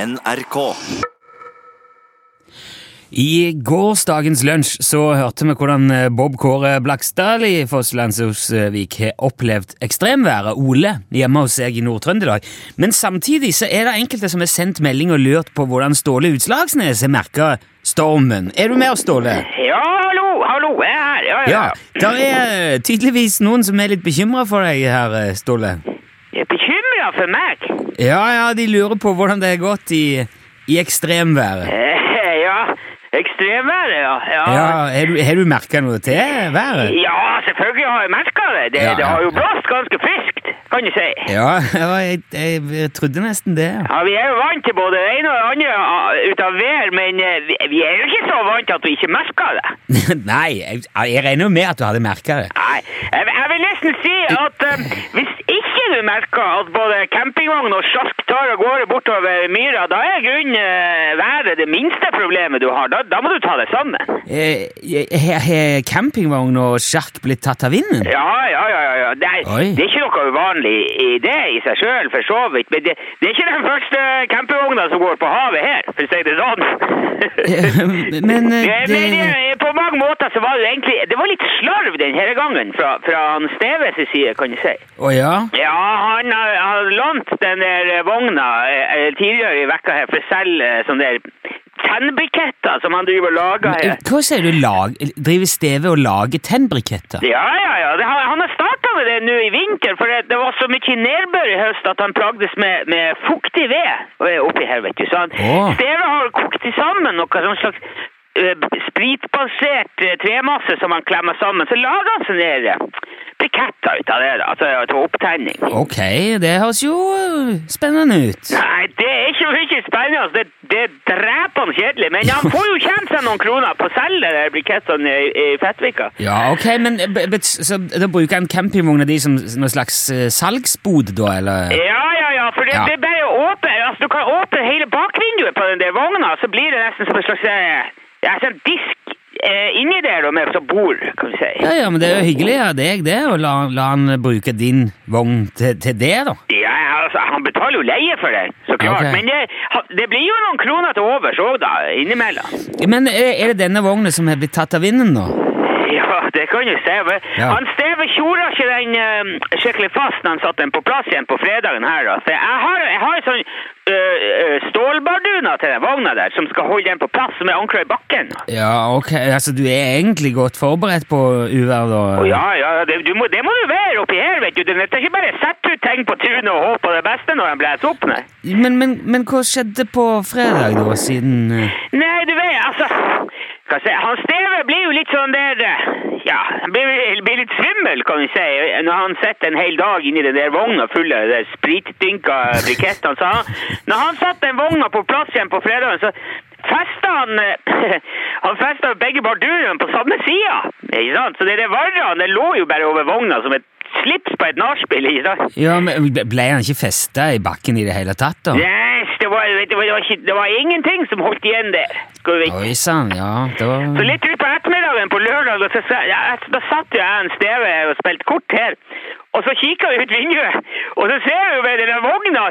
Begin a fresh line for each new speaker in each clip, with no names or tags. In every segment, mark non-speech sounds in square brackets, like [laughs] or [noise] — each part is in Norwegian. NRK.
I gårsdagens lunsj så hørte vi hvordan eh, Bob Kåre Blakstad i Fosslandsosvik har opplevd ekstremværet Ole hjemme hos seg i Nord-Trøndelag. Men samtidig så er det enkelte som har sendt melding og lurt på hvordan Ståle Utslagsnes har merka stormen. Er du med oss, Ståle?
Ja, hallo, hallo, jeg er her. Ja, ja.
Ja. Det er eh, tydeligvis noen som er litt bekymra for deg her, eh, Ståle.
Jeg er bekymra for meg.
Ja, ja, de lurer på hvordan det har gått i, i ekstremværet.
Eh, ja, ekstremværet, ja. Ja,
Ja,
ja.
Har du, har du merka noe til været?
selvfølgelig har jeg merka det. Det,
Ja,
det
ja,
har jo
ja.
blåst ganske friskt, kan du si.
Ja, [laughs] ja jeg, jeg, trodde nesten det.
Ja, Vi er jo vant til både det ene og det andre ah, ut av vær, men eh, vi- vi er jo ikke så vant til at vi ikke merker det.
[laughs] Nei, jeg, jeg regner jo med at du hadde merka det.
Nei, jeg, jeg vil nesten si at eh, hvis ikke du merker at både campingvogn og sjask tar av gårde bortover myra, da er i grunnen eh, været det minste problemet du har. Da, da må du ta det sammen.
Eh, eh, Har har campingvogn og sjark blitt tatt av vinden?
Ja, ja, ja. ja, ja. Det, er,
Oi.
det er ikke noe uvanlig i det i seg sjøl, for så vidt. Men det, det er ikke den første campingvogna som går på havet her, for å si det
[laughs]
sånn.
Men eh,
Jeg
det,
mener, eh, på mange måter så var det egentlig Det var litt slarv denne gangen fra, fra han Steves side, kan du si.
Å ja?
Ja, han har, har lånt den der eh, vogna eh, eh, tidligere i vekka her for å selge eh, sånne der tennbriketter som han driver og lager her.
eh, Hva sier du? Lag, driver Steve og lager tennbriketter?
Ja, ja, ja. Det, har- han har starta med det nå i vinter, for det, det var så mye nedbør i høst at han plagdes med, med fuktig ved eh, oppi her, vet du. Så han
Åh.
Steve har kokt i sammen noe sånn slags eh, spritbasert eh, tremasse som han klemmer sammen. Så lager han sånne der, eh, briketter ut av det, da, altså til opptenning.
Ok, det høres jo spennende ut.
Nei, det er ikke mye spennende. altså. Det, det er drepende kjedelig. Men han får jo tjent seg noen kroner på å selge de brikettene i, i Fettvika.
Ja, ok, men eh, b- b- så, da bruker han campingvogna di som noe slags eh, salgsbod, da, eller?
Ja, ja, ja, for det,
Ja.
det er bare å åpne, altså du kan åpne hele bakvinduet på den der vogna, så blir det nesten som en slags, eh, ja, sånn disk eh, inni der da, med sånn bord, kan vi si.
Ja, ja, men det er jo hyggelig av deg, det, å la, la han bruke din vogn til, til det, da.
Ja, altså, han betaler jo leie for den, så klart,
Ok.
men det, ha- det blir jo noen kroner til overs òg da, innimellom.
Men eh, er det denne vogna som har blitt tatt av vinden nå?
[laughs] Ja, det kan jo se, men
Ja.
han Steve kjora ikke den eh, skikkelig fast når han satte den på plass igjen på fredagen her da, så jeg har, jeg har en sånn eh, eh, stålbarduna til den vogna der, som skal holde den på plass, som er ankret i bakken da.
Ja, ok, altså du er egentlig godt forberedt på uvær da?
Å, Ja, ja, ja, det, du må, det må du være oppi her, vet du. Det nytter ikke bare å sette ut ting på tunet og håpe på det beste når den blåser opp, nei.
Men, men, men hva skjedde på fredag da, siden eh,
Nei, du vet, altså hva skal jeg si, Han Steve blir jo litt sånn der eh, Ja, han blir, eh, blir litt svimmel, kan vi si, når han sitter en hel dag inni den der vogna full av de der spritdynka brikettene. Så han, når han satte den vogna på plass igjen på fredagen, så festa han eh, Han festa begge bardurene på samme sida, ikke sant? Så det der varra, det lå jo bare over vogna som et slips på et nachspiel, ikke sant?
Ja, men ble- ble han ikke festa i bakken i det hele tatt da?
Yes, det var, vet du, det, var ikke, det var ingenting som holdt igjen der, skal du vite.
Oi, sann, ja, det
Så
var...
litt ut på ettermiddagen på lørdag, da, så, sa- ja, jeg- da satt jo jeg en steve og spilte kort her. Og så kikket vi ut vinduet, og så ser vi jo ved den vogna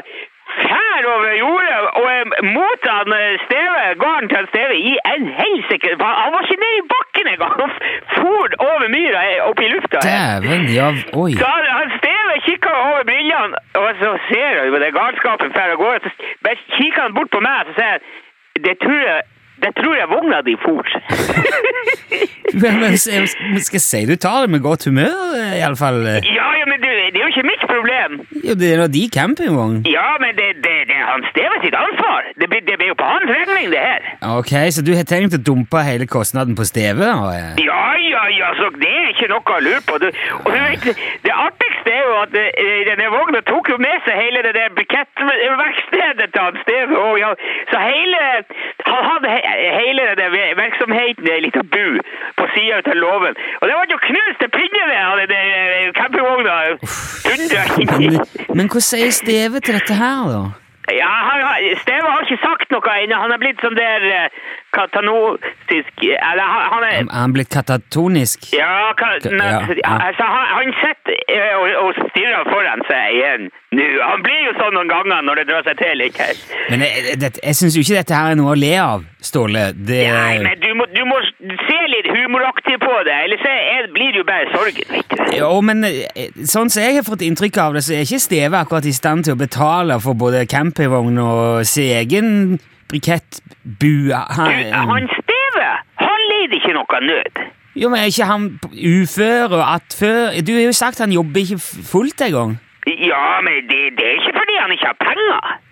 fær over jordet, og eh, mot han eh, steve, gården til han steve i en helsike. Han han var ikke nede i bakken engang, han for over myra eh, opp i lufta.
Dæven, ja, oi.
Så han, han Steve kikker over brillene, og så ser han jo det galskapen før han går. Så bare kikker han bort på meg og sier han, det tror jeg, det tror jeg vogna di for.
[laughs] Men, men jeg skal si du tar det med godt humør eh, i alle fall. eh.
ja, ja, men du, det er jo ikke mitt problem.
Jo, det er da de campingvogn.
Ja, men det, det, det er han Steve sitt ansvar. Det blir, det blir jo på hans regning, det her.
Ok, så du har tenkt å dumpe hele kostnaden på Steve? og, eh,
Ja, ja, ja, så det er ikke noe å lure på. Du, og du vet, det artigste er jo at eh, denne vogna tok jo med seg hele det der bukettverkstedet til han Steve. Og, ja, så hele, han hadde he, hele den der ve- virksomheten i ei lita bu på sida av låven. Og det ble jo knust til pinneved av den der eh, campingvogna. [laughs]
Men,
Tundra.
[laughs] men hva sier Steve til dette her da?
Ja, han, har- Steve har ikke sagt noe ennå. Han er blitt sånn der eh, katanotisk Eller han, han er
Er han blitt katatonisk?
Ja, ka,
Ka-
nei,
ja, ja.
altså han, han sitter eh, og, og stirrer foran seg igjen nå. Han blir jo sånn noen ganger når det drar seg til. ikke sant?
Men jeg, jeg- dette- jeg syns jo ikke dette her er noe å le av, Ståle. Det,
Nei, men du må, du må se litt humoraktig på det, ellers er- blir det jo bare sorgen. vet du.
jo, men eh, sånn som jeg har fått inntrykk av det, så er ikke Steve akkurat i stand til å betale for både campingvogn og sin egen brikettbue.
Du, han Steve, han lider ikke noe nød.
Jo, men er ikke han ufør og attfør? Du har jo sagt han jobber ikke f- fullt engang.
Ja, men det, det er ikke fordi han ikke har penger.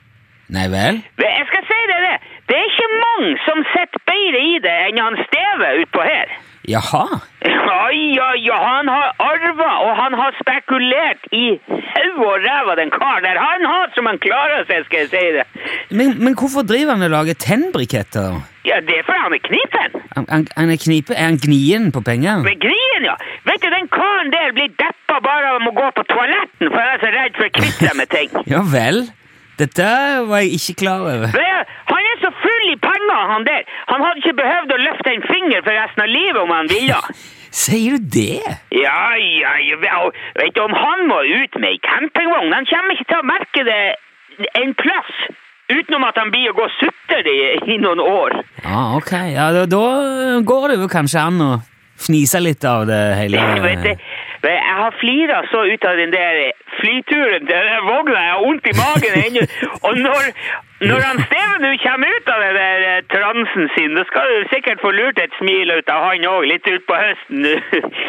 Nei vel?
Men Jeg skal si deg det, det er ikke mange som setter bedre i det enn han Steve utpå her.
Jaha.
Ja, ja, ja, han har arva, og han har spekulert i hau og ræva den karen der. Han har som han klarer seg, skal jeg si det.
Men, men hvorfor driver han og lager tennbriketter?
Ja, det er fordi han er knipen.
Han, han, han er knipe, er han gnien på penger?
Med grien, ja. Vet du, den karen der blir deppa bare av å gå på toaletten, for han er så redd for å kvitte seg med ting.
Ja vel. Dette var jeg ikke klar over.
Det er- Han er så full i penger, han der. Han hadde ikke behøvd å løfte en finger for resten av livet om han ville.
Sier du det?
Ja, ja, ja. ja, og Vet du, om han må ut med ei campingvogn, han kommer ikke til å merke det en plass. Utenom at han blir å gå sutter i, i noen år.
Ja, ok. Ja, da, da går det jo kanskje an å fnise litt av det hele.
Ja, vet du, vet du, jeg har flira så ut av den der flyturen til den der vogna. Jeg har vondt i magen ennå. Og når, når han Steven nå kommer ut av den der eh, transen sin, da skal du sikkert få lurt et smil ut av han òg, litt utpå høsten nå.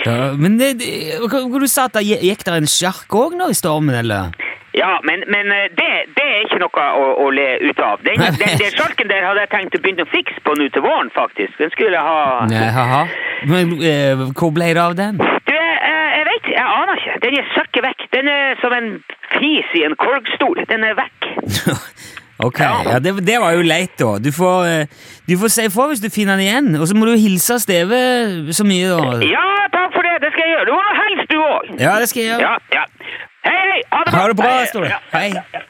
Ja, men det, det, hva, hva du sa at det gikk der en sjark òg nå i stormen, eller?
Ja, men, men eh, det, det er ikke noe å, å le ut av. Den, den, den sjarken der hadde jeg tenkt å begynne å fikse på nå til våren, faktisk. Den skulle jeg ha
Nei, haha. Men eh, hvor ble det av den? [laughs]
Du, jeg, jeg jeg vet jeg aner ikke. Den er søkket vekk. Den er som en fis i en korgstol. Den er vekk.
Ok, ja, det, det var jo leit, da. Du får, eh, du får si ifra hvis du finner den igjen. Og så må du hilse Steve så mye, da.
Ja, takk for det. Det skal jeg gjøre. Du må nå helst, du òg.
Ja, det skal jeg gjøre.
Ja, ja. Hei, hei. Ha det bra.
Ha det bra,
Hei,
Ståle.
ja.
Hei.